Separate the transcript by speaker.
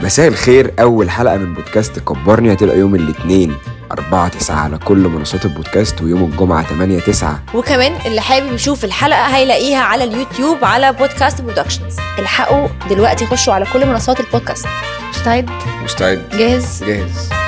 Speaker 1: مساء الخير أول حلقة من بودكاست كبرني هتبقى يوم الاثنين 4 9 على كل منصات البودكاست ويوم الجمعة 8 9
Speaker 2: وكمان اللي حابب يشوف الحلقه هيلاقيها على اليوتيوب على بودكاست برودكشنز الحقوا دلوقتي خشوا على كل منصات البودكاست مستعد
Speaker 1: مستعد
Speaker 2: جاهز
Speaker 1: جاهز